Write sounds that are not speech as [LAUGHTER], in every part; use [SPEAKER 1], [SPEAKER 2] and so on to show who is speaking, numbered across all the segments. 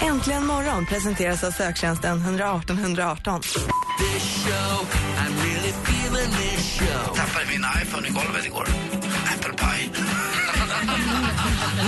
[SPEAKER 1] Äntligen morgon presenteras av söktjänsten 118 118.
[SPEAKER 2] tappade min iPhone i golvet igår. Apple pie.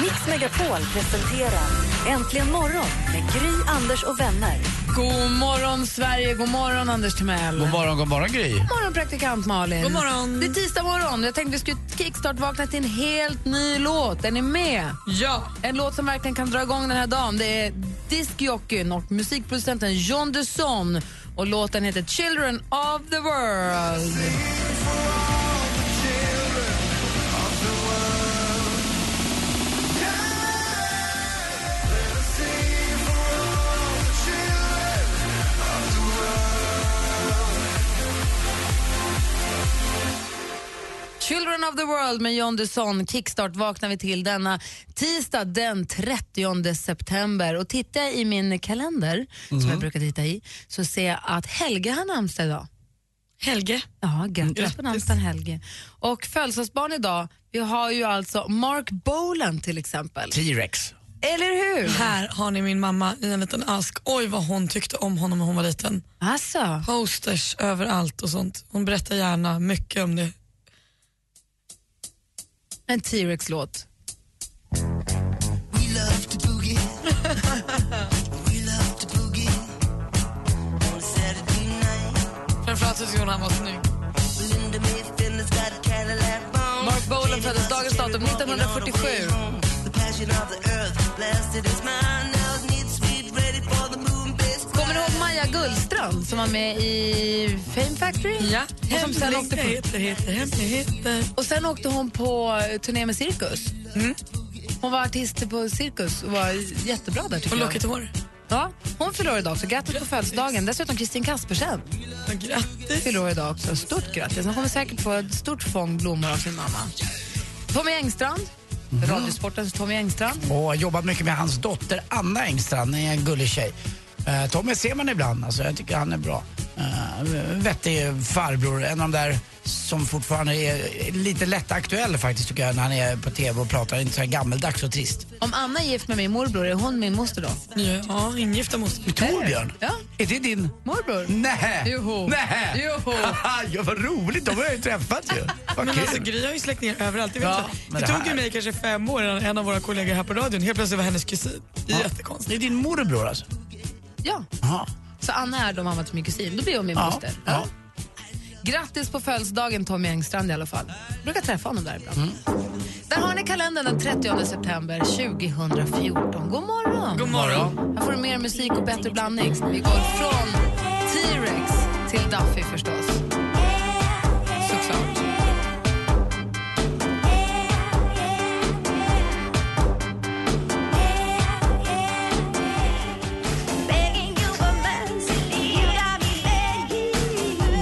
[SPEAKER 3] Mix Megapol presenterar Äntligen morgon med Gry, Anders och vänner.
[SPEAKER 4] God morgon, Sverige. God morgon, Anders Timell. God
[SPEAKER 2] morgon, god morgon Gry.
[SPEAKER 4] morgon, praktikant Malin. God morgon. Det är tisdag morgon. Jag tänkte vi skulle kickstart-vakna till en helt ny låt. Är ni med? Ja. En låt som verkligen kan dra igång den här dagen. Det är diskjockeyn och musikproducenten John Dusson. Och låten heter Children of the World. Children of the World med John Dusson. Kickstart vaknar vi till denna tisdag den 30 september. Och tittar jag i min kalender, som jag brukar titta i, så ser jag att Helge har namnsdag idag.
[SPEAKER 5] Helge.
[SPEAKER 4] Ja, grattis på namnsdagen Helge. Och födelsedagsbarn idag, vi har ju alltså Mark Bolan till exempel.
[SPEAKER 2] T-Rex.
[SPEAKER 4] Eller hur?
[SPEAKER 5] Här har ni min mamma i en liten ask. Oj vad hon tyckte om honom när hon var liten.
[SPEAKER 4] Alltså,
[SPEAKER 5] Posters överallt och sånt. Hon berättar gärna mycket om det.
[SPEAKER 4] en T-Rex-låt.
[SPEAKER 5] Framförallt så tyckte hon han var snygg.
[SPEAKER 4] Mark Bolan föddes dagens datum 1947. Kommer ni ihåg Maja Gullstrand som var med i Fame Factory?
[SPEAKER 5] Ja,
[SPEAKER 4] Och, som sen åkte på,
[SPEAKER 5] hemligheter, heter hemligheter.
[SPEAKER 4] och sen åkte hon på eh, turné med Cirkus.
[SPEAKER 5] Mm.
[SPEAKER 4] Hon var artist på Cirkus och var jättebra där tycker
[SPEAKER 5] Och
[SPEAKER 4] jag.
[SPEAKER 5] lockigt hår.
[SPEAKER 4] Ja, hon fyller år idag också. Grattis på födelsedagen. Dessutom Kristin Kaspersen
[SPEAKER 5] Ja, Grattis.
[SPEAKER 4] fyller år idag också. Stort grattis. Hon kommer säkert få ett stort fång blommor av sin mamma. Tommy Engstrand,
[SPEAKER 6] Mhm.
[SPEAKER 4] Radiosportens Tommy Engstrand.
[SPEAKER 6] och har jobbat mycket med hans dotter Anna Engstrand, en gullig tjej. Eh, Tommy ser man ibland, alltså, jag tycker han är bra. Eh, vettig farbror, en av de där som fortfarande är lite lätt aktuell faktiskt tycker jag när han är på TV och pratar, inte så här gammeldags och trist.
[SPEAKER 4] Om Anna är gift med min morbror, är hon min moster då?
[SPEAKER 5] Ja, ingifta moster.
[SPEAKER 6] Torbjörn,
[SPEAKER 4] Ja.
[SPEAKER 6] är det din?
[SPEAKER 4] Morbror?
[SPEAKER 6] Nej.
[SPEAKER 4] Joho.
[SPEAKER 6] Nej.
[SPEAKER 4] Joho.
[SPEAKER 6] [LAUGHS] ja, vad roligt, de har jag ju träffat ju. Vad
[SPEAKER 5] Men
[SPEAKER 6] kul.
[SPEAKER 5] alltså Gry har ju släckt ner överallt. Det, vet
[SPEAKER 6] Ja,
[SPEAKER 5] jag.
[SPEAKER 6] men
[SPEAKER 5] det
[SPEAKER 6] det
[SPEAKER 5] tog ju
[SPEAKER 6] här-
[SPEAKER 5] mig kanske fem år innan en av våra kollegor här på radion helt plötsligt var hennes kusin. Det är
[SPEAKER 6] det
[SPEAKER 5] jättekonstigt.
[SPEAKER 6] är din morbror alltså?
[SPEAKER 4] Ja.
[SPEAKER 6] Aha.
[SPEAKER 4] Så Anna är då mamma till min kusin. Då blir hon min
[SPEAKER 6] Ja.
[SPEAKER 4] moster.
[SPEAKER 6] ja.
[SPEAKER 4] Grattis på födelsedagen Tommy Engstrand i alla fall. Jag brukar träffa honom där ibland.
[SPEAKER 6] Mm.
[SPEAKER 4] Där har ni kalendern den 30 september 2014. God morgon!
[SPEAKER 5] God morgon.
[SPEAKER 4] Här får du mer musik och bättre blandning. Vi går från T-Rex till Duffy förstås. Såklart.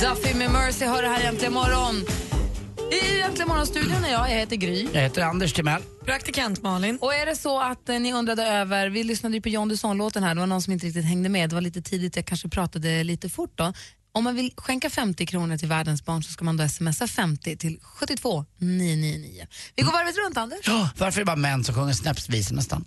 [SPEAKER 4] Duffy med Mercy hör det här äntligen morgon. I Äntligen morgonstudion är jag, jag heter Gry.
[SPEAKER 6] Jag heter Anders Timell.
[SPEAKER 5] Praktikant Malin.
[SPEAKER 4] Och är det så att eh, ni undrade över, vi lyssnade ju på John Dusson-låten här, det var någon som inte riktigt hängde med, det var lite tidigt, jag kanske pratade lite fort då. Om man vill skänka 50 kronor till världens barn så ska man då smsa 50 till 72 999. Vi går varvet runt Anders.
[SPEAKER 6] Ja, Varför är det bara män som sjunger snäppsvisor nästan?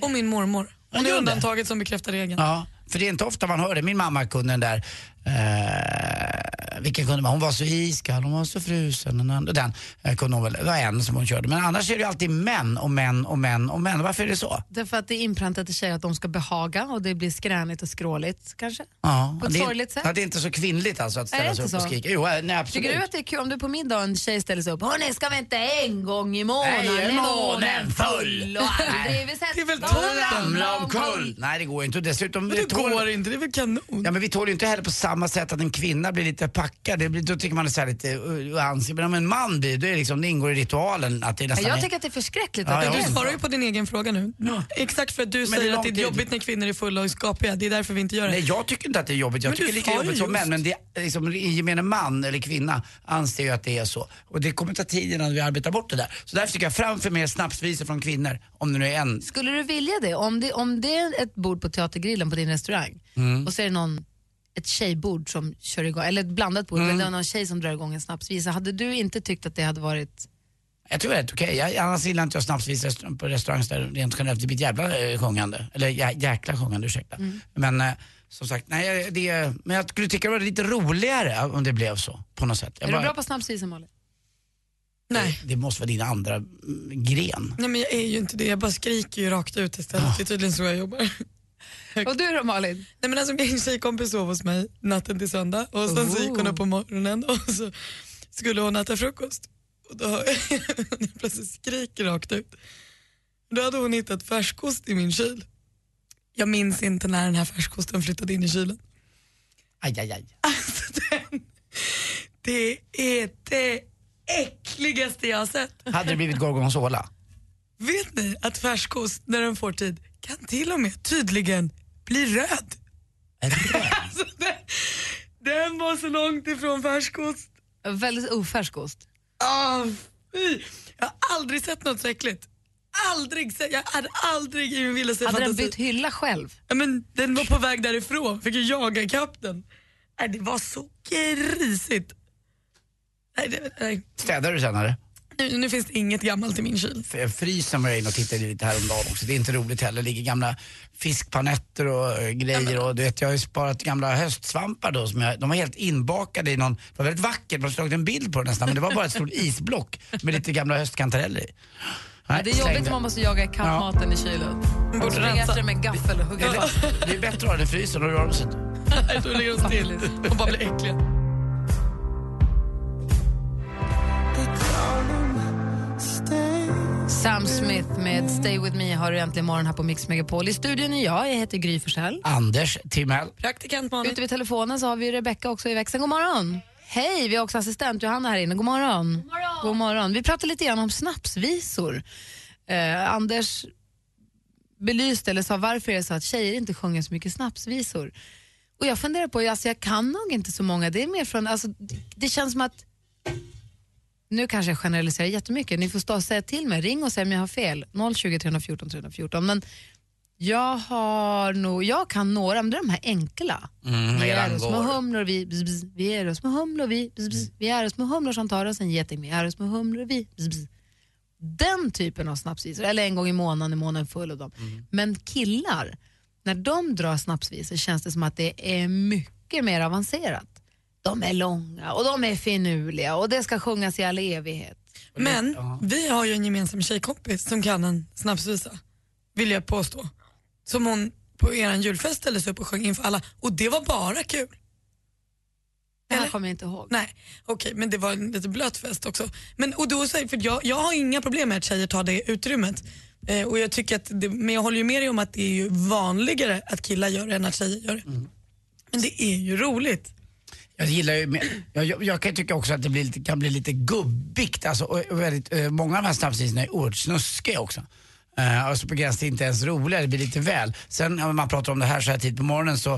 [SPEAKER 5] Och min mormor. Hon är
[SPEAKER 6] gör det.
[SPEAKER 5] undantaget som bekräftar regeln.
[SPEAKER 6] Ja, för det är inte ofta man hör det. Min mamma kunde den där, eh, vilken kunde man? Hon var så iskall, hon var så frusen. Den, andra- den eh, kunde hon väl, det var en som hon körde. Men annars är det ju alltid män och män och män och män. Varför är det så?
[SPEAKER 4] Därför att det är inpräntat i tjejer att de ska behaga och det blir skränigt och skråligt kanske.
[SPEAKER 6] Ja,
[SPEAKER 4] På ett
[SPEAKER 6] det är-
[SPEAKER 4] sorgligt sätt.
[SPEAKER 6] Ja, det är inte så kvinnligt alltså att
[SPEAKER 4] Nej, det
[SPEAKER 6] ställa
[SPEAKER 4] är
[SPEAKER 6] sig upp
[SPEAKER 4] inte
[SPEAKER 6] och
[SPEAKER 4] så.
[SPEAKER 6] skrika. Jo, eh, nej absolut.
[SPEAKER 4] Tycker du att det är kul om du på middag en tjej ställer sig upp, hörni ska vi inte en gång i månaden
[SPEAKER 6] Nej, är
[SPEAKER 4] är
[SPEAKER 6] månen full."
[SPEAKER 4] och aldrig vi sett
[SPEAKER 5] Det är väl
[SPEAKER 4] någon
[SPEAKER 5] toppen.
[SPEAKER 6] Ramla
[SPEAKER 4] ramla
[SPEAKER 6] omkull! Nej, det går ju inte. Och Dessutom,
[SPEAKER 5] Men
[SPEAKER 6] vi
[SPEAKER 5] det
[SPEAKER 6] tål,
[SPEAKER 5] går inte, det är väl kanon.
[SPEAKER 6] ja, men vi tål ju inte heller på samma sätt att en kvinna blir lite rackar, det blir, då tycker man det är så här lite uh, uh, ansikte. Men om en man blir det, är liksom, det ingår i ritualen att det är nästan
[SPEAKER 4] Jag
[SPEAKER 6] är-
[SPEAKER 4] tycker att det är förskräckligt
[SPEAKER 6] Ja,
[SPEAKER 4] att
[SPEAKER 6] jag
[SPEAKER 4] det är
[SPEAKER 5] Du
[SPEAKER 6] också.
[SPEAKER 4] så.
[SPEAKER 5] svarar ju på din egen fråga nu. Exakt för att du
[SPEAKER 6] det är
[SPEAKER 5] säger att
[SPEAKER 6] lång
[SPEAKER 5] det är
[SPEAKER 6] tid.
[SPEAKER 5] jobbigt när kvinnor är fulla och skapiga. Det är därför vi inte gör det.
[SPEAKER 6] Nej, jag tycker inte att det är jobbigt. Jag
[SPEAKER 5] Men
[SPEAKER 6] tycker
[SPEAKER 5] du
[SPEAKER 6] lika
[SPEAKER 5] sa ju
[SPEAKER 6] jobbigt som
[SPEAKER 5] just.
[SPEAKER 6] män. Men det, är liksom, gemene man eller kvinna anser ju att det är så. Och det kommer ta tid innan vi arbetar bort det där. Så därför tycker jag framför mer snapsvisor från kvinnor, om det nu är en.
[SPEAKER 4] Skulle du vilja det? Om det, om det är ett bord på Teatergrillen på din restaurang
[SPEAKER 6] Mm.
[SPEAKER 4] och så är det någon, ett tjejbord som kör igång, eller ett blandat bord,
[SPEAKER 6] Mm.
[SPEAKER 4] men det är någon tjej som drar igång en snapsvisa. Hade du inte tyckt att det hade varit...
[SPEAKER 6] Jag tror det är rätt okej. Jag- Annars gillar inte jag snapsvisor restaur- på restauranger rent generellt. Det blir ett jävla eh, sjungande. Eller jä, jäkla sjungande, ursäkta.
[SPEAKER 5] Mm.
[SPEAKER 6] Men eh, som sagt, nej, det, är- men jag skulle tycka det var lite roligare om det blev så. På något sätt. Jag
[SPEAKER 4] Är du
[SPEAKER 6] bara- Eh,
[SPEAKER 4] bra på snapsvisa, Malin?
[SPEAKER 5] Nej.
[SPEAKER 6] Det måste vara din andra mm, gren.
[SPEAKER 5] Nej, men jag är ju inte det. Jag bara skriker ju rakt ut istället. Det är tydligen så jag jobbar.
[SPEAKER 4] Och du då, Malin?
[SPEAKER 5] Nej, men alltså, min tjejkompis sov hos mig natten till söndag och sen så gick hon upp på morgonen och så skulle hon äta frukost. Och då hör jag [LAUGHS] hon plötsligt skriker rakt ut. Då hade hon hittat färskost i min kyl. Jag minns inte när den här färskosten flyttade in i kylen.
[SPEAKER 6] Aj, aj, aj.
[SPEAKER 5] Alltså, den, [LAUGHS] det är det äckligaste jag har sett.
[SPEAKER 6] Hade det blivit gorgonzola?
[SPEAKER 5] Vet ni att färskost, när den får tid, kan till och med tydligen bli röd? [LAUGHS] Alltså, den, den var så långt ifrån färskost.
[SPEAKER 4] Väldigt ofärsk ost.
[SPEAKER 5] Ah, fy. jag har aldrig sett något så äckligt. Aldrig sett, jag hade aldrig i min vildaste
[SPEAKER 4] Hade den
[SPEAKER 5] fantasi.
[SPEAKER 4] bytt hylla själv?
[SPEAKER 5] Ja, men den var på väg därifrån, fick ju jaga ikapp den. Nej, det var så grisigt. Nej, det, nej.
[SPEAKER 6] Städar du sen, eller?
[SPEAKER 5] Nu, nu finns det inget gammalt i min kyl.
[SPEAKER 6] F- frysen var jag inne och tittade lite häromdagen också. Det är inte roligt heller. Det ligger gamla fiskpanetter och eh, grejer. Och du vet, jag har ju sparat gamla höstsvampar då. Som jag, de var helt inbakade i någon, det var väldigt vackert, man har slagit en bild på det nästan. Men det var bara
[SPEAKER 4] [LAUGHS]
[SPEAKER 6] ett stort isblock med lite gamla höstkantareller i. Nej,
[SPEAKER 4] Det är
[SPEAKER 6] släng
[SPEAKER 4] jobbigt om man måste jaga ikapp
[SPEAKER 6] Ja.
[SPEAKER 4] maten i kylen.
[SPEAKER 5] Borde
[SPEAKER 4] Springa
[SPEAKER 5] rensa.
[SPEAKER 4] efter den med gaffel och hugga fast.
[SPEAKER 6] Det är bättre att ha den i frysen, då rör de sig inte.
[SPEAKER 5] Nej, då ligger de still och bara blir äckliga.
[SPEAKER 4] Sam Smith med Stay With Me har du äntligen morgon här på Mix Megapol. I studion är jag, jag heter Gry Forssell.
[SPEAKER 6] Anders Timell.
[SPEAKER 5] Praktikant Malin.
[SPEAKER 4] Ute vid telefonen så har vi Rebecca också i växeln. God morgon! Hej, vi har också assistent Johanna här inne. God morgon! God morgon! Vi pratar lite grann om snapsvisor. Eh, Anders belyste eller sa varför är det så att tjejer inte sjunger så mycket snapsvisor. Och jag funderar på, alltså jag kan nog inte så många. Det är mer från, alltså, det- det känns som att nu kanske jag generaliserar jättemycket. Ni får stå och säga till mig. Ring och säg om jag har fel. 020 314 314. Men jag har nog, jag kan några, men det är de här enkla.
[SPEAKER 6] Mm,
[SPEAKER 4] vi är och små humlor, vi, bzz, bzz, vi är och små humlor, vi, bzz, bzz, vi är och små humlor som tar oss en geting, vi är och små humlor, vi, bzz, bzz. Den typen av snapsvisor, eller en gång i månaden, i månaden full av dem. Men killar, när de drar snapsvisor känns det som att det är mycket mer avancerat. De är långa och de är finurliga och det ska sjungas i all evighet.
[SPEAKER 5] Men vi har ju en gemensam tjejkompis som kan en snapsvisa, vill jag påstå. Som hon på er julfest ställde sig upp och sjöng inför alla och det var bara kul.
[SPEAKER 4] Det här
[SPEAKER 5] Eller?
[SPEAKER 4] kommer jag inte ihåg.
[SPEAKER 5] Nej, okej, men det var en lite blöt fest också. Men, och då, så här, för jag, jag har inga problem med att tjejer tar det utrymmet. Eh, och jag tycker att det, men jag håller ju med dig om att det är ju vanligare att killar gör det än att tjejer gör det.
[SPEAKER 4] Mm.
[SPEAKER 5] Men det är ju roligt.
[SPEAKER 6] Jag gillar ju, men jag, jag, jag kan tycka också att det blir lite, kan bli lite gubbigt. Alltså, och, och väldigt, eh, många av de här snapsvisorna är oerhört snuskiga också. Eh, alltså på gränsen till inte ens roliga, det blir lite väl. Sen när man pratar om det här så här tid på morgonen så,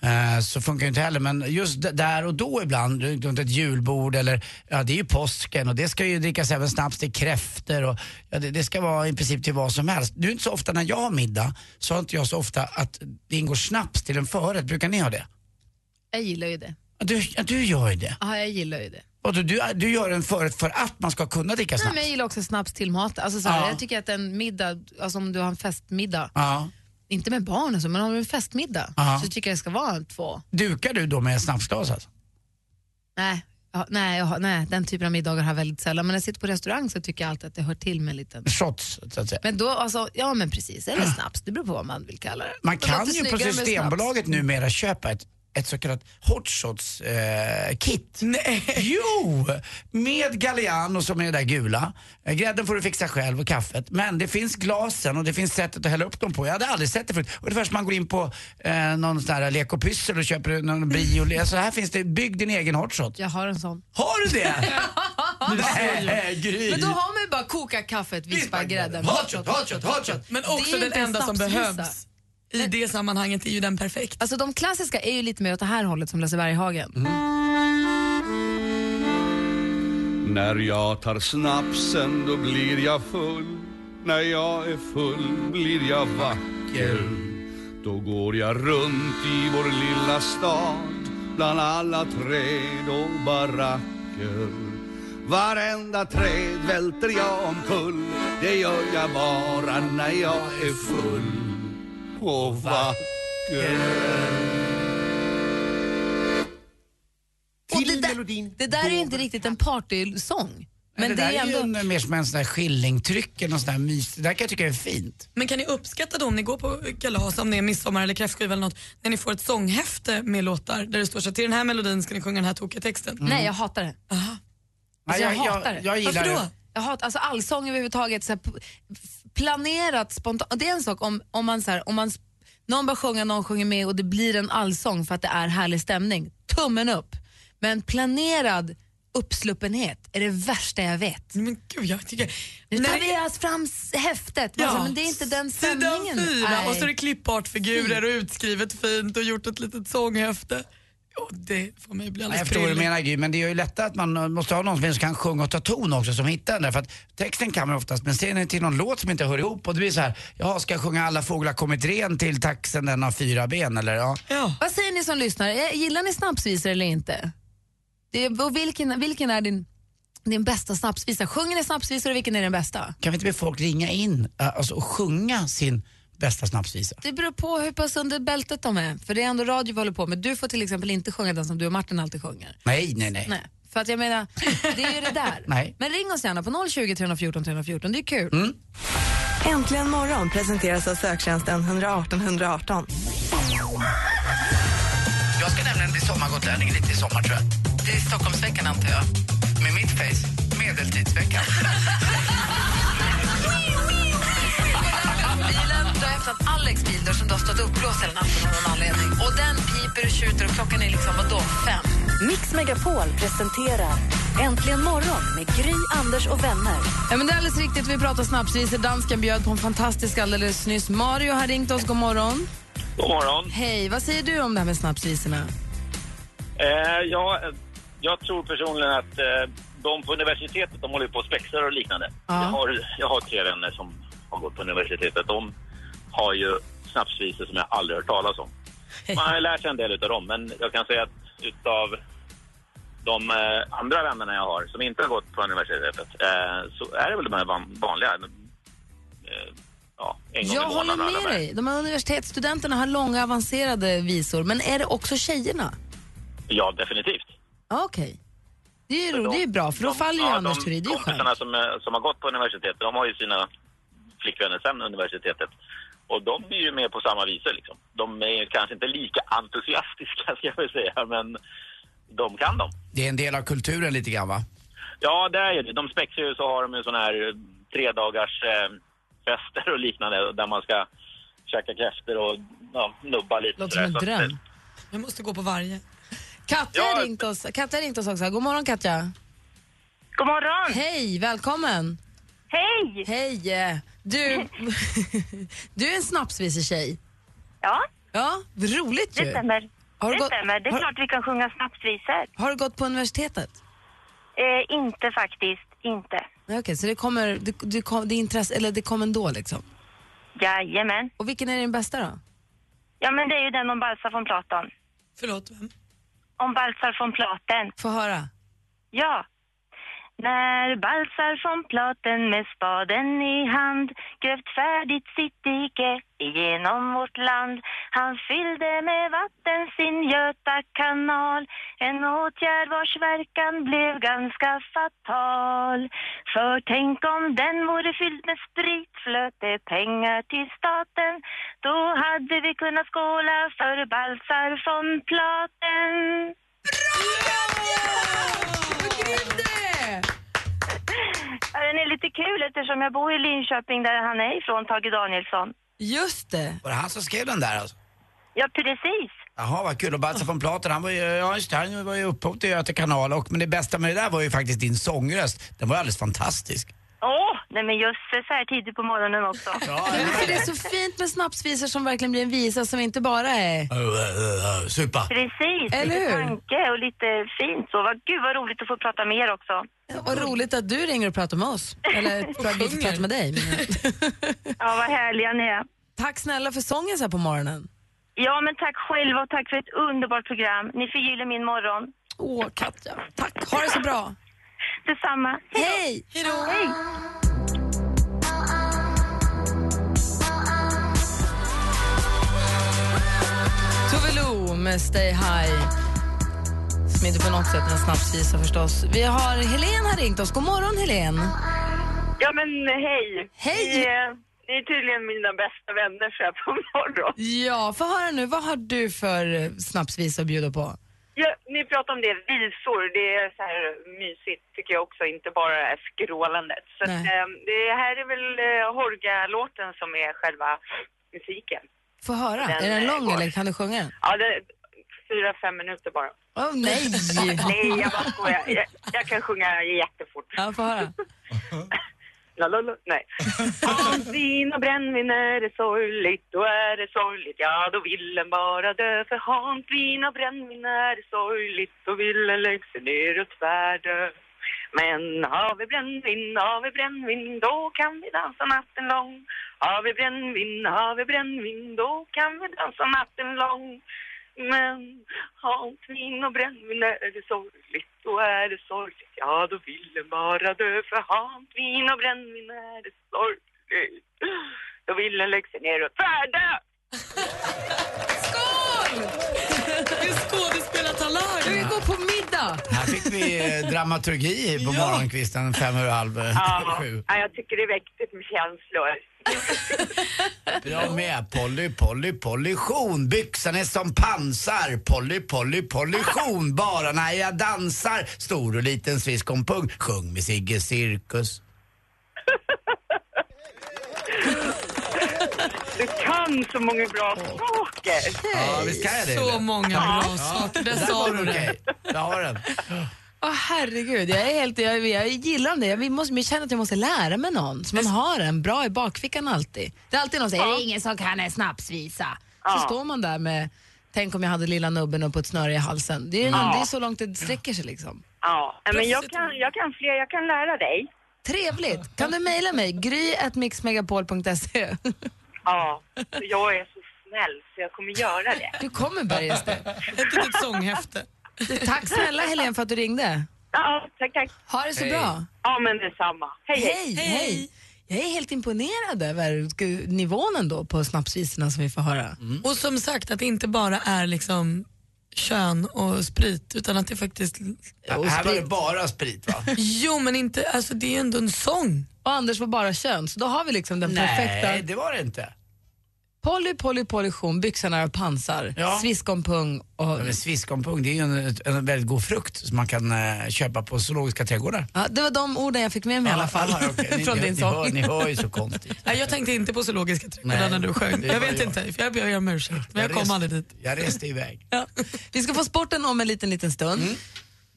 [SPEAKER 6] eh, så funkar ju inte heller. Men just d- där och då ibland, runt ett julbord eller, ja det är ju påsken och det ska ju drickas även snaps till kräfter och ja, det, det ska vara i princip till vad som helst. Nu är det inte så ofta när jag har middag, så har inte jag så ofta att det ingår snaps till en förrätt. Brukar ni ha det?
[SPEAKER 4] Jag gillar ju det.
[SPEAKER 6] Ja, Du, ja, du gör ju det.
[SPEAKER 4] Ja, jag gillar ju det.
[SPEAKER 6] Vadå, du, du gör en förrätt för att man ska kunna dricka
[SPEAKER 4] Nej,
[SPEAKER 6] snaps?
[SPEAKER 4] men jag gillar också snaps till mat. Alltså, så här,
[SPEAKER 6] Ja.
[SPEAKER 4] Jag tycker att en middag, alltså, om du har en festmiddag,
[SPEAKER 6] Ja.
[SPEAKER 4] inte med barn och så, men om du har en festmiddag
[SPEAKER 6] Ja.
[SPEAKER 4] så tycker jag det ska vara en två.
[SPEAKER 6] Dukar du då med snapsglas alltså?
[SPEAKER 4] Nej, ja, nej, jag har- nej, den typen av middagar har jag väldigt sällan. Men när jag sitter på restaurang så tycker jag alltid att det hör till med en liten.
[SPEAKER 6] Shots, så att säga.
[SPEAKER 4] Men då, alltså, ja men precis, eller snaps, det beror på vad man vill kalla det.
[SPEAKER 6] Mm. Man
[SPEAKER 4] Det låter
[SPEAKER 6] kan ju på
[SPEAKER 4] snyggare med snaps.
[SPEAKER 6] Systembolaget numera köpa ett ett så kallat hot shots eh, kit.
[SPEAKER 4] Mm.
[SPEAKER 6] Jo! Med Galliano som är det där gula. Eh, Grädden får du fixa själv och kaffet. Men det finns glasen och det finns sättet att hälla upp dem på. Jag hade aldrig sett det förut. Ungefär som man går in på eh, någon sån här lek och pyssel och köper någon bio. Alltså här finns det, bygg din egen hot shot.
[SPEAKER 4] Jag har en sån.
[SPEAKER 6] Har du [LAUGHS] det? Nej, Gry.
[SPEAKER 4] Men då har man ju bara koka kaffet, vispa grädden.
[SPEAKER 6] Hot shot, hot shot, hot shot.
[SPEAKER 5] Men
[SPEAKER 4] Det är
[SPEAKER 5] också
[SPEAKER 4] ju
[SPEAKER 5] den
[SPEAKER 4] inte en
[SPEAKER 5] enda som
[SPEAKER 4] snapsvisa.
[SPEAKER 5] behövs i det sammanhanget är ju den perfekt.
[SPEAKER 4] Alltså de klassiska är ju lite mer åt det här hållet som Lasse Berghagen.
[SPEAKER 6] Mm.
[SPEAKER 7] När jag tar snapsen då blir jag full När jag är full blir jag vacker Då går jag runt i vår lilla stad Bland alla träd och baracker Varenda träd välter jag omkull Det gör jag bara när jag är full och vacker
[SPEAKER 4] Och det, där, det där är ju inte riktigt en partysång. Men det,
[SPEAKER 6] där
[SPEAKER 4] är ändå...
[SPEAKER 6] ju en, mer som en sån där skillingtryck eller någon sån där mys. Det där kan jag tycka är fint.
[SPEAKER 5] Men kan ni uppskatta då om ni går på kalas, om det är midsommar eller kräftskiva eller något, när ni får ett sånghäfte med låtar där det står så här, till den här melodin ska ni sjunga den här tokiga texten.
[SPEAKER 6] Mm.
[SPEAKER 4] Nej, jag hatar det.
[SPEAKER 6] Nej,
[SPEAKER 4] Alltså, jag hatar det.
[SPEAKER 6] jag, jag gillar
[SPEAKER 5] Varför då?
[SPEAKER 6] det.
[SPEAKER 4] Jag hatar alltså allsång överhuvudtaget. Så här, p- f- planerat, spontant. Det är en sak om, om man så här, om man s- någon bara sjunga, någon sjunger med och det blir en allsång för att det är härlig stämning. Tummen upp. Men planerad uppsluppenhet är det värsta jag vet.
[SPEAKER 5] Men gud, jag tycker...
[SPEAKER 4] Nu tar
[SPEAKER 5] Nej.
[SPEAKER 4] vi oss fram s- häftet. Alltså, men det är inte den
[SPEAKER 5] sidan
[SPEAKER 4] stämningen.
[SPEAKER 5] fyra,
[SPEAKER 4] Nej. Mm.
[SPEAKER 5] och så är det klippartfigurer och utskrivet fint och gjort ett litet sånghäfte. Jo, det får mig bli
[SPEAKER 6] Nej, jag
[SPEAKER 5] alldeles
[SPEAKER 6] förstår vad du
[SPEAKER 5] prillig.
[SPEAKER 6] menar Gry, men det är ju lättare att man eh, måste ha någon som kan sjunga och ta ton också som hittar den där. För att texten kan man oftast, men ser ni till någon låt som inte hör ihop och det blir så här, jaha ska jag sjunga Alla fåglar kommit ren till taxen den har fyra ben eller ja.
[SPEAKER 5] Ja.
[SPEAKER 4] Vad säger ni som lyssnar? Eh, Gillar ni snapsvisor eller inte? Det, och vilken, vilken är din, din bästa snapsvisa? Sjunger ni snapsvisor och vilken är den bästa?
[SPEAKER 6] Kan vi inte be folk ringa in eh, alltså, och sjunga sin bästa snapsvisa?
[SPEAKER 4] Det beror på hur pass under bältet de är. För det är ändå radio vi håller på med. Du får till exempel inte sjunga den som du och Martin alltid sjunger.
[SPEAKER 6] Nej, nej, nej.
[SPEAKER 4] Nej. För att jag menar, det är ju det där.
[SPEAKER 6] [LAUGHS] Nej. Mm.
[SPEAKER 4] Men ring oss gärna på 020 314 314, det är kul.
[SPEAKER 1] Äntligen morgon presenteras av söktjänsten 118 118.
[SPEAKER 6] Jag ska nämligen bli sommargotlänning lite i sommar tror jag. Det är Stockholmsveckan antar jag. Med mitt face, medeltidsveckan.
[SPEAKER 4] Bilen, du har hämtat Alex bil där som du har stått uppblåst hela natten av någon anledning. Och den piper och tjuter och klockan är liksom, vadå, fem?
[SPEAKER 3] Mix Megapol presenterar Äntligen morgon med Gry, Anders och vänner.
[SPEAKER 4] Ja, men det är alldeles riktigt, vi pratar snapsvisor. Dansken bjöd på en fantastisk alldeles nyss. Mario har ringt oss, god morgon.
[SPEAKER 8] God morgon.
[SPEAKER 4] Hej, vad säger du om det här med snapsvisorna?
[SPEAKER 8] Eh, jag, jag tror personligen att eh, de på universitetet, de håller ju på och spexar och liknande.
[SPEAKER 4] Ja.
[SPEAKER 8] Jag, har, jag har tre vänner som har gått på universitetet. De har ju snapsvisor som jag aldrig hört talas om. Man har ju lärt sig en del utav dem, men jag kan säga att utav de eh, andra vännerna jag har som inte har gått på universitetet eh, så är det väl de här van- vanliga. Eh, ja, en gång
[SPEAKER 4] Jag
[SPEAKER 8] i månaden.
[SPEAKER 4] håller med dig. De här universitetsstudenterna har långa avancerade visor, men är det också tjejerna?
[SPEAKER 8] Ja, definitivt.
[SPEAKER 4] Ja, Okej. Det är ju
[SPEAKER 8] De-
[SPEAKER 4] roligt, det är ju bra, för då
[SPEAKER 8] de-
[SPEAKER 4] faller ju
[SPEAKER 8] ja,
[SPEAKER 4] Anders
[SPEAKER 8] de
[SPEAKER 4] Thurin. Det är ju skönt.
[SPEAKER 8] kompisarna som, eh, som har gått på universitetet, de har ju sina flickvänner sen universitetet. Och de är ju med på samma visor liksom. De är kanske inte lika entusiastiska [LAUGHS] ska jag väl säga, men de kan dem.
[SPEAKER 6] Det är en del av kulturen lite grann va?
[SPEAKER 8] Ja, det är ju det. De spexar ju så har de ju sån här eh, tre dagars eh, fester och liknande där man ska käka kräftor och ja, nubba lite.
[SPEAKER 4] Låter
[SPEAKER 8] sådär.
[SPEAKER 4] som en
[SPEAKER 8] Så att,
[SPEAKER 4] dröm.
[SPEAKER 5] Jag måste gå på varje.
[SPEAKER 4] Katja
[SPEAKER 8] Ja.
[SPEAKER 4] har ringt oss, Katja har ringt oss också. God morgon Katja.
[SPEAKER 9] God morgon!
[SPEAKER 4] Hej, välkommen.
[SPEAKER 9] Hej!
[SPEAKER 4] Hej. eh, Du, [LAUGHS] du är en snapsvisetjej.
[SPEAKER 9] Ja,
[SPEAKER 4] Ja, roligt
[SPEAKER 9] det
[SPEAKER 4] ju.
[SPEAKER 9] stämmer.
[SPEAKER 4] Har du
[SPEAKER 9] det
[SPEAKER 4] gått-
[SPEAKER 9] stämmer. Det är
[SPEAKER 4] har-
[SPEAKER 9] klart vi kan sjunga snapsvisor.
[SPEAKER 4] Har du gått på universitetet?
[SPEAKER 9] Eh, inte faktiskt, inte.
[SPEAKER 4] Nej, Okej, så det kommer, det, det, kom, det, är intresse, eller det kom ändå liksom.
[SPEAKER 9] Jajamän.
[SPEAKER 4] Och vilken är din bästa då?
[SPEAKER 9] Ja, men det är ju den om Balsar från Platon.
[SPEAKER 5] Förlåt, vem?
[SPEAKER 9] Om Balsar från Platen.
[SPEAKER 4] Få höra.
[SPEAKER 9] Ja. När Balsar från Platen med spaden i hand grävt färdigt sitt dike igenom vårt land. Han fyllde med vatten sin Göta kanal, en åtgärd vars verkan blev ganska fatal. För tänk om den vore fylld med sprit, flöt det pengar till staten, då hade vi kunnat skåla för Balsar från Platen. Ja, Den är lite kul eftersom jag bor i Linköping där han är ifrån, Tage Danielsson.
[SPEAKER 4] Just det.
[SPEAKER 6] Var det han som skrev den där alltså?
[SPEAKER 9] Ja, precis.
[SPEAKER 6] Jaha, vad kul. Och Balsa von Platen, han var ju, ja, just det, han var ju upphov till Göta kanal. Och, men det bästa med det där var ju faktiskt din sångröst. Den var ju alldeles fantastisk.
[SPEAKER 9] Åh, nej men jösses så här tidigt på morgonen också.
[SPEAKER 4] Men för det är så fint med snapsvisor som verkligen blir en visa som inte bara är...
[SPEAKER 6] Supa.
[SPEAKER 9] Precis, lite
[SPEAKER 4] Eller hur?
[SPEAKER 9] tanke och lite fint så. Vad, gud vad roligt att få prata med er också.
[SPEAKER 4] Vad roligt att du ringer och pratar med oss. Eller att vi får prata med dig.
[SPEAKER 9] ja, vad härliga ni är.
[SPEAKER 4] Tack snälla för sången så här på morgonen.
[SPEAKER 9] Ja men tack själva och tack för ett underbart program. Ni förgyller min morgon.
[SPEAKER 4] Åh Katja, tack. Ha det så bra.
[SPEAKER 9] Detsamma.
[SPEAKER 4] Hej!
[SPEAKER 9] Hej då! Hej!
[SPEAKER 4] Tove Lo med Stay High. Som inte på något sätt är en snapsvisa förstås. Vi har Helen har ringt oss. God morgon Helen.
[SPEAKER 10] Ja, men hej.
[SPEAKER 4] Hej.
[SPEAKER 10] Ni, eh, ni är tydligen mina bästa vänner så här på morgonen.
[SPEAKER 4] Ja, få höra nu. Vad har du för eh, snapsvisa att bjuda på?
[SPEAKER 10] Ja, ni pratar om det, visor. Det är så här mysigt tycker jag också, inte bara det här skrålandet. Så att, eh, det här är väl eh, Horga-låten som är själva musiken.
[SPEAKER 4] Få höra.
[SPEAKER 10] Den
[SPEAKER 4] är den
[SPEAKER 10] är
[SPEAKER 4] lång
[SPEAKER 10] kort.
[SPEAKER 4] eller kan du sjunga den?
[SPEAKER 10] Ja, det är fyra, fem minuter bara.
[SPEAKER 4] Åh
[SPEAKER 10] [LAUGHS]
[SPEAKER 4] nej!
[SPEAKER 10] nej, jag bara skojar. Jag, jag kan sjunga jättefort.
[SPEAKER 4] Ja, få höra.
[SPEAKER 10] La, la, la. Nej. Av vin och brännvin är det sorgligt, då är det sorgligt, ja då vill en bara dö. För hans vin och brännvin är det sorgligt, då vill en lägga sig ner och tvärdö. Men har vi brännvin, har vi brännvin, då kan vi dansa natten lång. Har vi brännvin, har vi brännvin, då kan vi dansa natten lång. Men hans vin och brännvin är det sorgligt, då är det sorgligt. Ja, då vill en bara dö för hans vin och brännvin är det sorgligt. Då vill en lägga sig ner och tvärdö.
[SPEAKER 4] Skål!
[SPEAKER 5] Du är skådespelartalang!
[SPEAKER 4] Du går på middag!
[SPEAKER 6] Här fick vi eh, dramaturgi på morgonkvisten fem över halv eh,
[SPEAKER 10] Ja,
[SPEAKER 6] sju.
[SPEAKER 10] ja, jag tycker det väckte med känslor.
[SPEAKER 6] Bra med. Polly, Polly, pollution. Byxan är som pansar. Polly, Polly, pollution. Bara när jag dansar. Stor och liten sviskompung. Sjung med Sigge Cirkus.
[SPEAKER 10] Du kan så många bra saker.
[SPEAKER 6] Ja, visst kan jag det?
[SPEAKER 5] Så
[SPEAKER 6] eller?
[SPEAKER 5] många
[SPEAKER 6] Ja.
[SPEAKER 5] bra saker. Där
[SPEAKER 6] där
[SPEAKER 5] sa
[SPEAKER 6] var
[SPEAKER 5] du
[SPEAKER 6] det
[SPEAKER 5] det.
[SPEAKER 6] okej. Jag har den.
[SPEAKER 4] Åh herregud, jag, är helt, jag, jag gillar det. Jag, vi måste, jag känner att jag måste lära mig någon, så man har en bra i bakfickan alltid. Det är alltid någon som säger,
[SPEAKER 11] Ja.
[SPEAKER 4] "Är det ingen som kan en snapsvisa.
[SPEAKER 11] Ja.
[SPEAKER 4] Så står man där med, tänk om jag hade lilla nubben upp på ett snöre i halsen. Det är,
[SPEAKER 10] Ja.
[SPEAKER 4] det är så långt det sträcker sig liksom.
[SPEAKER 10] Ja, men jag kan, jag kan fler, jag kan lära dig.
[SPEAKER 4] Trevligt! Kan du mejla mig? gry.mixmegapol.se
[SPEAKER 10] Ja, jag är så snäll så jag kommer göra det.
[SPEAKER 4] Du kommer börja
[SPEAKER 5] Ett litet sånghäfte.
[SPEAKER 4] Tack snälla Helene för att du ringde.
[SPEAKER 10] Ja, tack, tack.
[SPEAKER 4] Ha det så bra.
[SPEAKER 10] Ja, men detsamma. Hej,
[SPEAKER 4] hej. hej. Jag är helt imponerad över sk- nivån ändå på snapsvisorna som vi får höra.
[SPEAKER 6] Mm.
[SPEAKER 5] Och som sagt att det inte bara är liksom kön och sprit utan att det faktiskt...
[SPEAKER 6] Här var det bara sprit
[SPEAKER 4] [LAUGHS]
[SPEAKER 6] va?
[SPEAKER 5] Jo men inte, alltså det är ju ändå en sång.
[SPEAKER 4] Och Anders var bara kön, så då har vi liksom den
[SPEAKER 6] Nej,
[SPEAKER 4] perfekta.
[SPEAKER 6] det var det inte.
[SPEAKER 4] Polly, polly, pollution, byxorna är av pansar,
[SPEAKER 6] Ja.
[SPEAKER 4] sviskompung och...
[SPEAKER 6] Men sviskompung det är ju en, en väldigt god frukt som man kan eh, köpa på zoologiska trädgårdar.
[SPEAKER 4] Ja, det var de orden jag fick med mig i alla fall.
[SPEAKER 6] [LAUGHS] Ja,
[SPEAKER 4] [LAUGHS]
[SPEAKER 6] okej. Ni-
[SPEAKER 4] Från
[SPEAKER 6] ni-
[SPEAKER 4] din
[SPEAKER 6] ni
[SPEAKER 4] sång.
[SPEAKER 6] hör- Ni hör ju så konstigt.
[SPEAKER 5] [LAUGHS] Nej, jag tänkte inte på zoologiska
[SPEAKER 6] Nej.
[SPEAKER 5] trädgårdar när du sjöng.
[SPEAKER 6] Det var
[SPEAKER 5] Jag vet
[SPEAKER 6] jag.
[SPEAKER 5] inte, för jag ber om ursäkt. Men jag, kom
[SPEAKER 6] reste-
[SPEAKER 5] aldrig dit.
[SPEAKER 6] Jag reste iväg.
[SPEAKER 4] Vi ska få sporten om en liten, liten stund.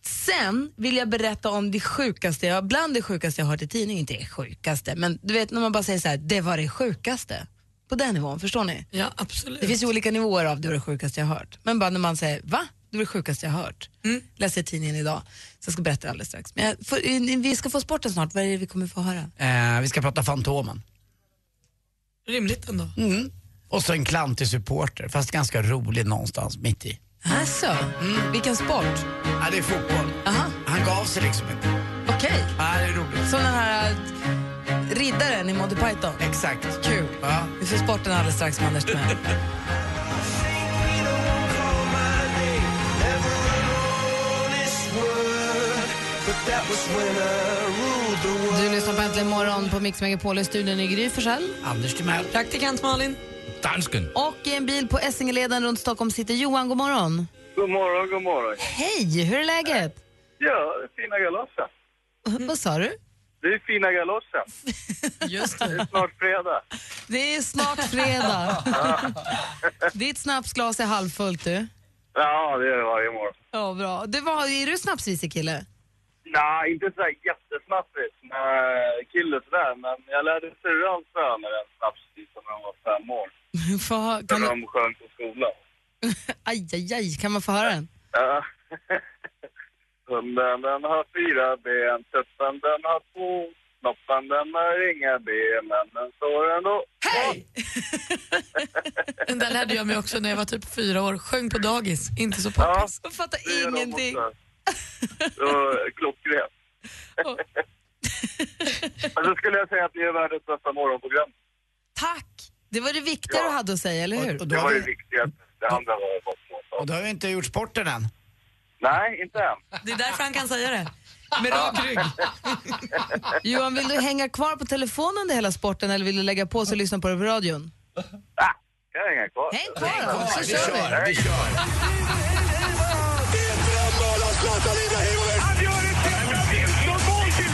[SPEAKER 4] Sen vill jag berätta om det sjukaste, jag, bland det sjukaste jag har hört i tidningen. Inte det sjukaste, men du vet när man bara säger så här, det var det sjukaste. På den nivån, förstår ni?
[SPEAKER 5] Ja, absolut.
[SPEAKER 4] Det finns ju olika nivåer av det var det sjukaste jag har hört. Men bara när man säger, va? Det var det sjukaste jag har hört. Läser i tidningen idag. Så jag ska berätta det alldeles strax. Men jag får, eh, vi ska få sporten snart, vad är det vi kommer få höra?
[SPEAKER 6] Eh, vi ska prata Fantomen.
[SPEAKER 5] Rimligt ändå.
[SPEAKER 6] Mm. Och så en klantig supporter, fast ganska rolig någonstans mitt i.
[SPEAKER 4] Alltså, vilken sport?
[SPEAKER 6] Ja, det är fotboll. Han gav sig liksom inte.
[SPEAKER 4] Vad okej.
[SPEAKER 6] Ja, det är roligt.
[SPEAKER 4] Som den här eh, riddaren i Monty Python.
[SPEAKER 6] Exakt.
[SPEAKER 4] Kul. Vi får sporten alldeles strax med Anders Timell. Du lyssnar på Äntligen morgon på Mix Megapol i studion i Gry Forssell.
[SPEAKER 6] Anders Timell.
[SPEAKER 4] Praktikant Malin.
[SPEAKER 11] Dansken.
[SPEAKER 4] Och i en bil på Essingeleden runt Stockholm sitter Johan. God morgon.
[SPEAKER 12] God morgon, god morgon.
[SPEAKER 4] Hej, hur är läget?
[SPEAKER 12] Ja, det är fina galosser.
[SPEAKER 4] Vad sa du?
[SPEAKER 12] Det är fina galosser.
[SPEAKER 4] [LAUGHS] Just det.
[SPEAKER 12] Det är snart fredag.
[SPEAKER 4] Det är snart fredag. [LAUGHS] Ditt snapsglas är halvfullt du.
[SPEAKER 12] Ja, det är det varje morgon.
[SPEAKER 4] Ja, bra. Det var, är du snapsvisekille?
[SPEAKER 12] Nej, inte så här jättesnappigt med killen sådär, men jag lärde syrran söner en snapsvisa när hon var fem år.
[SPEAKER 4] Få hö-
[SPEAKER 12] När de sjöng på skolan.
[SPEAKER 4] aj, aj, aj, kan man få höra den?
[SPEAKER 12] Ja. [LAUGHS] Hunden den har fyra ben, tuppen den har två, snoppen den har inga ben, men den står ändå.
[SPEAKER 5] Den där lärde jag mig också när jag var typ fyra år. Sjöng på dagis, inte så poppis.
[SPEAKER 4] Jag fattar
[SPEAKER 5] Det gör de
[SPEAKER 12] [LAUGHS]
[SPEAKER 5] ingenting.
[SPEAKER 12] Så, klockrent. [LAUGHS] Alltså skulle jag säga att ni är världens bästa morgonprogram.
[SPEAKER 4] Tack! Det var det viktiga du hade att säga, eller hur?
[SPEAKER 12] Det var det viktigaste. Det andra var bara småsaker.
[SPEAKER 6] Och då har vi inte gjort sporten än.
[SPEAKER 12] Nej, inte än.
[SPEAKER 4] Det är därför han kan säga det. Med rak rygg. Johan, vill du hänga kvar på telefonen under hela sporten eller vill du lägga på sig och lyssna på det på radion?
[SPEAKER 12] Kan jag hänga kvar?
[SPEAKER 4] Häng kvar då, så kör vi.
[SPEAKER 6] vi. kör.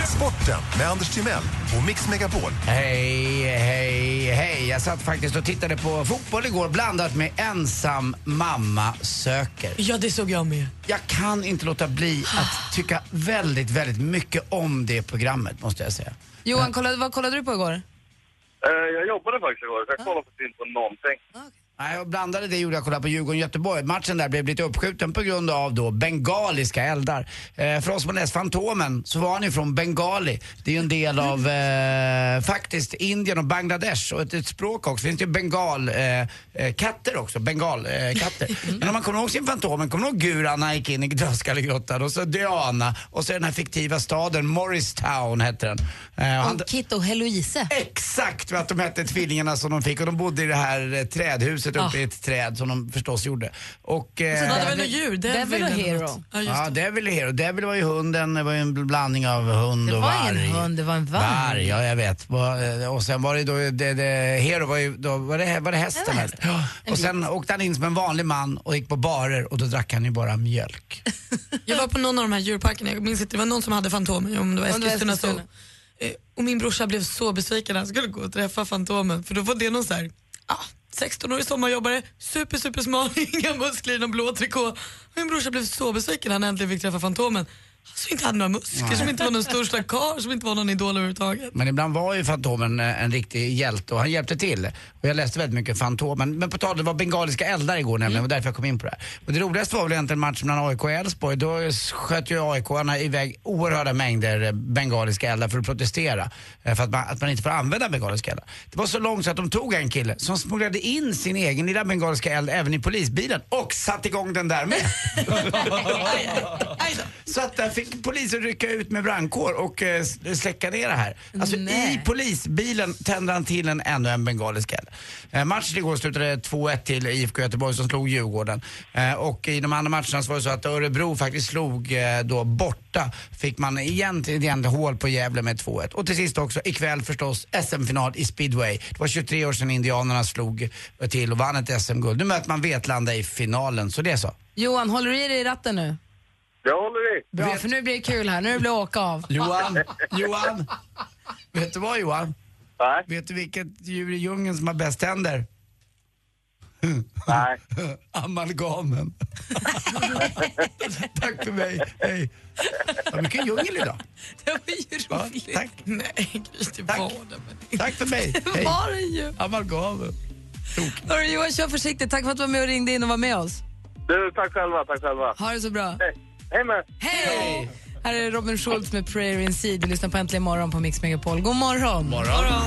[SPEAKER 13] Sporten med Anders Timell och Mix Megapol.
[SPEAKER 6] Hej, hej, hej. Jag satt faktiskt och tittade på fotboll igår blandat med ensam mamma söker.
[SPEAKER 5] Ja, det såg jag med.
[SPEAKER 6] Jag kan inte låta bli att tycka väldigt, väldigt mycket om det programmet måste jag säga.
[SPEAKER 4] Johan, kollade, vad kollade du på igår?
[SPEAKER 12] Eh, Jag jobbade faktiskt igår, så jag kollade faktiskt inte på någonting.
[SPEAKER 6] Nej, jag blandade det gjorde jag kollade på Djurgården-Göteborg. Matchen där blev lite uppskjuten på grund av då bengaliska eldar. Eh, för oss som har läst Fantomen så var han ju från Bengali. Det är ju en del av eh, faktiskt Indien och Bangladesh och ett, ett språk också. Finns det ju bengalkatter eh, eh, katter också, bengalkatter. Eh, katter. Men om man kommer ihåg sin Fantomen, kommer man ihåg Guran när han gick in i Dödskallegrottan och så Diana och så den här fiktiva staden Morristown hette den. Eh, och han-
[SPEAKER 4] Om Kit och
[SPEAKER 6] [LAUGHS]
[SPEAKER 4] Heloise.
[SPEAKER 6] Exakt vad att de hette tvillingarna som de fick och de bodde i det här eh, trädhuset uppe
[SPEAKER 4] Ah.
[SPEAKER 6] i ett träd som de förstås gjorde. Och, eh,
[SPEAKER 5] Sen hade vi något djur.
[SPEAKER 4] Devil och
[SPEAKER 5] eller något.
[SPEAKER 4] Hero.
[SPEAKER 5] Ja, just
[SPEAKER 6] Ja, Devil och Hero. Devil var ju hunden, det var ju en blandning av hund
[SPEAKER 4] Det
[SPEAKER 6] och
[SPEAKER 4] var ingen
[SPEAKER 6] varg.
[SPEAKER 4] hund, det var en varg.
[SPEAKER 6] Varg, ja jag vet. Va- Och sen var det då, det, det, Hero var ju, då, var det, var det hästen? eller? Ja. Och sen åkte han in som en vanlig man och gick på barer och då drack han ju bara mjölk.
[SPEAKER 5] Jag var på någon av de här djurparkerna, jag minns inte, det var någon som hade Fantomen, om det var
[SPEAKER 4] Om det var
[SPEAKER 5] Eskilstuna så.
[SPEAKER 4] Eskilstuna.
[SPEAKER 5] Eh, Och min brorsa blev så besviken när han skulle gå och träffa Fantomen för då var det någon så här, ah, 16-årig sommarjobbare, super super smal, [LAUGHS] inga muskler i någon blå trikå. Och Min brorsa blev så besviken när han äntligen fick träffa Fantomen. Han som inte hade några muskler,
[SPEAKER 6] Nej.
[SPEAKER 5] som inte var någon största karl, som inte var någon idol överhuvudtaget.
[SPEAKER 6] Men ibland var ju Fantomen eh, en riktig hjälte och han hjälpte till. Och jag läste väldigt mycket Fantomen. Men på tal det var bengaliska eldar igår nämligen, och därför jag kom in på det här. Och det roligaste var väl egentligen matchen mellan AIK och Elfsborg. Då sköt ju AIK-arna iväg oerhörda mängder eh, bengaliska eldar för att protestera. eh, För att man, att man inte får använda bengaliska eldar. Det var så långt så att de tog en kille som smugglade in sin egen lilla bengaliska eld även i polisbilen och satte igång den där med. Så att där fick polisen rycka ut med brandkår och eh, s- släcka ner det här. Alltså
[SPEAKER 4] Nej.
[SPEAKER 6] i polisbilen tände han till en ännu en bengalisk eld. Eh, matchen igår slutade 2-1 till IFK Göteborg som slog Djurgården. Eh, och i de andra matcherna så var det så att Örebro faktiskt slog eh, då borta. Fick man egentligen egentligen hål på Gävle med 2-1. Och till sist också ikväll förstås SM-final i speedway. Det var 23 år sedan Indianerna slog till och vann ett SM-guld. Nu möter man Vetlanda i finalen, så det så.
[SPEAKER 4] Johan, håller du i dig i ratten nu?
[SPEAKER 12] Jag håller i.
[SPEAKER 4] Bra, för nu blir det kul här. Nu blir det åka av.
[SPEAKER 6] Johan, Johan. Vet du vad Johan?
[SPEAKER 12] Nej.
[SPEAKER 6] Vet du vilket djur i djungeln som har bäst tänder? [LAUGHS]
[SPEAKER 12] Nej.
[SPEAKER 6] Amalgamen. [LAUGHS] Tack för mig. Hej. Det var mycket djungel idag.
[SPEAKER 5] Det var ju roligt.
[SPEAKER 6] tack.
[SPEAKER 5] Nej, Gry, det var det.
[SPEAKER 6] Tack för mig.
[SPEAKER 4] Det var den ju.
[SPEAKER 6] Amalgamen.
[SPEAKER 4] Hörru, Johan, kör försiktigt. Tack för att du var med och ringde in och var med oss.
[SPEAKER 12] Du, tack själva, tack själva.
[SPEAKER 4] Ha det så bra.
[SPEAKER 12] Hej. Hej med
[SPEAKER 4] Hej! Här är Robin Schultz med Prayer in Seed. Du lyssnar på Äntligen morgon på Mix Megapol. God morgon!
[SPEAKER 6] morgon.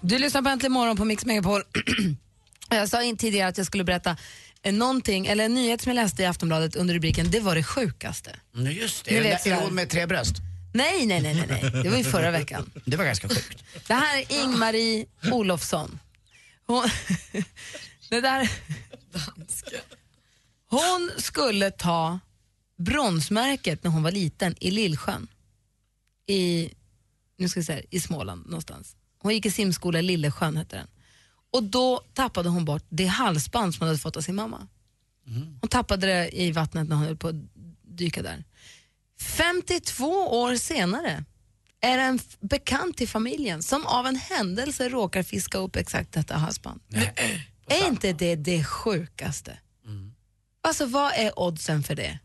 [SPEAKER 4] Du lyssnar på Äntligen morgon på Mix Megapol. [CLEARS THROAT] Jag sa in tidigare att jag skulle berätta eh, någonting, eller en nyhet som jag läste i Aftonbladet under rubriken Det var det sjukaste.
[SPEAKER 6] Nu Mm, just
[SPEAKER 4] Ni
[SPEAKER 6] det, den
[SPEAKER 4] vet
[SPEAKER 6] där
[SPEAKER 4] sådär.
[SPEAKER 6] hon med tre bröst.
[SPEAKER 4] Nej, nej, nej, nej, nej. det var ju förra veckan.
[SPEAKER 6] Det var ganska sjukt.
[SPEAKER 4] Det här är Ingmarie Olofsson. Hon, det där, hon skulle ta bronsmärket när hon var liten i Lillsjön. I, nu ska vi säga, I Småland någonstans. Hon gick i simskola i Lillesjön hette den. Och då tappade hon bort det halsband som hon hade fått av sin mamma. Hon tappade det i vattnet när hon höll på att dyka där. 52 år senare är det en f- bekant i familjen som av en händelse råkar fiska upp exakt detta halsband. Är inte det det sjukaste? Alltså vad är oddsen för det?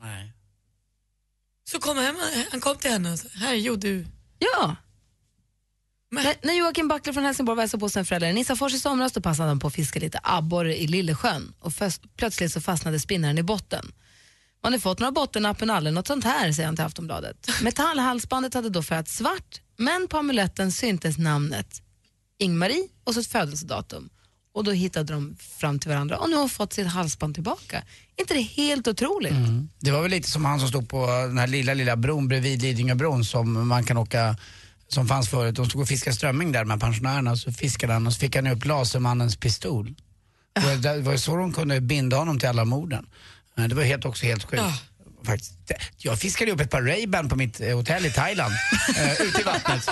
[SPEAKER 5] Så kom hem, han kom till henne och sa, här jo du.
[SPEAKER 4] Ja. När, när Joakim Backler från Helsingborg var och hälsade på sina föräldrar i Nissafors i somras då passade han på att fiska lite abborre i Lillesjön och fös- plötsligt så fastnade spinnaren i botten. Man har fått några bottennapp men aldrig något sånt här, säger han till Aftonbladet. Metallhalsbandet hade då färgat svart, men på amuletten syntes namnet Ingmarie och så ett födelsedatum. Och då hittade de fram till varandra och nu har hon fått sitt halsband tillbaka. inte det helt otroligt?
[SPEAKER 6] Det var väl lite som han som stod på den här lilla, lilla bron bredvid Lidingöbron som man kan åka, som fanns förut. De stod och fiskade strömming där med pensionärerna så fiskade han och så fick han upp lasermannens pistol. Och det var ju så de kunde binda honom till alla morden. Eh, Det var helt, också helt sjukt. Faktiskt. Jag fiskade upp ett par Ray-Ban på mitt eh, hotell i Thailand, eh, ute i vattnet.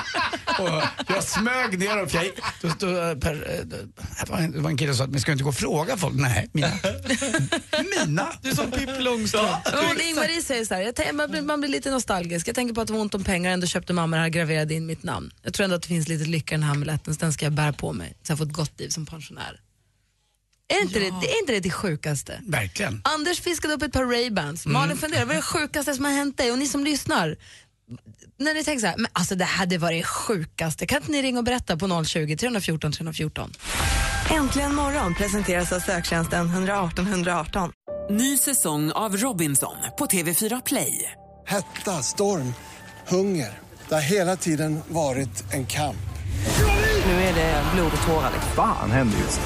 [SPEAKER 6] Och jag smög ner dem. för jag gick- Då stod, eh, per, eh, då- det var en- det var en kille som sa att vi ska inte gå och fråga folk. Nej, mina. mina.
[SPEAKER 5] Du är som Pippi Långstrump.
[SPEAKER 4] Hon, Ingmarie säger så här, jag tänker, man, blir, man blir lite nostalgisk. Jag tänker på att det var ont om pengar, ändå köpte mamma det här, graverade in mitt namn. Jag tror ändå att det finns lite lycka i den här amuletten, så den ska jag bära på mig så jag får ett gott liv som pensionär. Är inte, det, det, är inte det det sjukaste?
[SPEAKER 6] Verkligen.
[SPEAKER 4] Anders fiskade upp ett par Ray-Bans. Malin funderar, vad är det sjukaste som har hänt dig? Och ni som lyssnar, när ni tänker så här, men alltså det här det var det sjukaste. Kan inte ni ringa och berätta på 020 314 314?
[SPEAKER 1] Äntligen morgon presenteras av söktjänsten 118 118.
[SPEAKER 14] Ny säsong av Robinson på TV4 Play.
[SPEAKER 15] Hetta, storm, hunger. Det har hela tiden varit en kamp.
[SPEAKER 14] Nu är det blod och tårar.
[SPEAKER 16] Fan händer just det.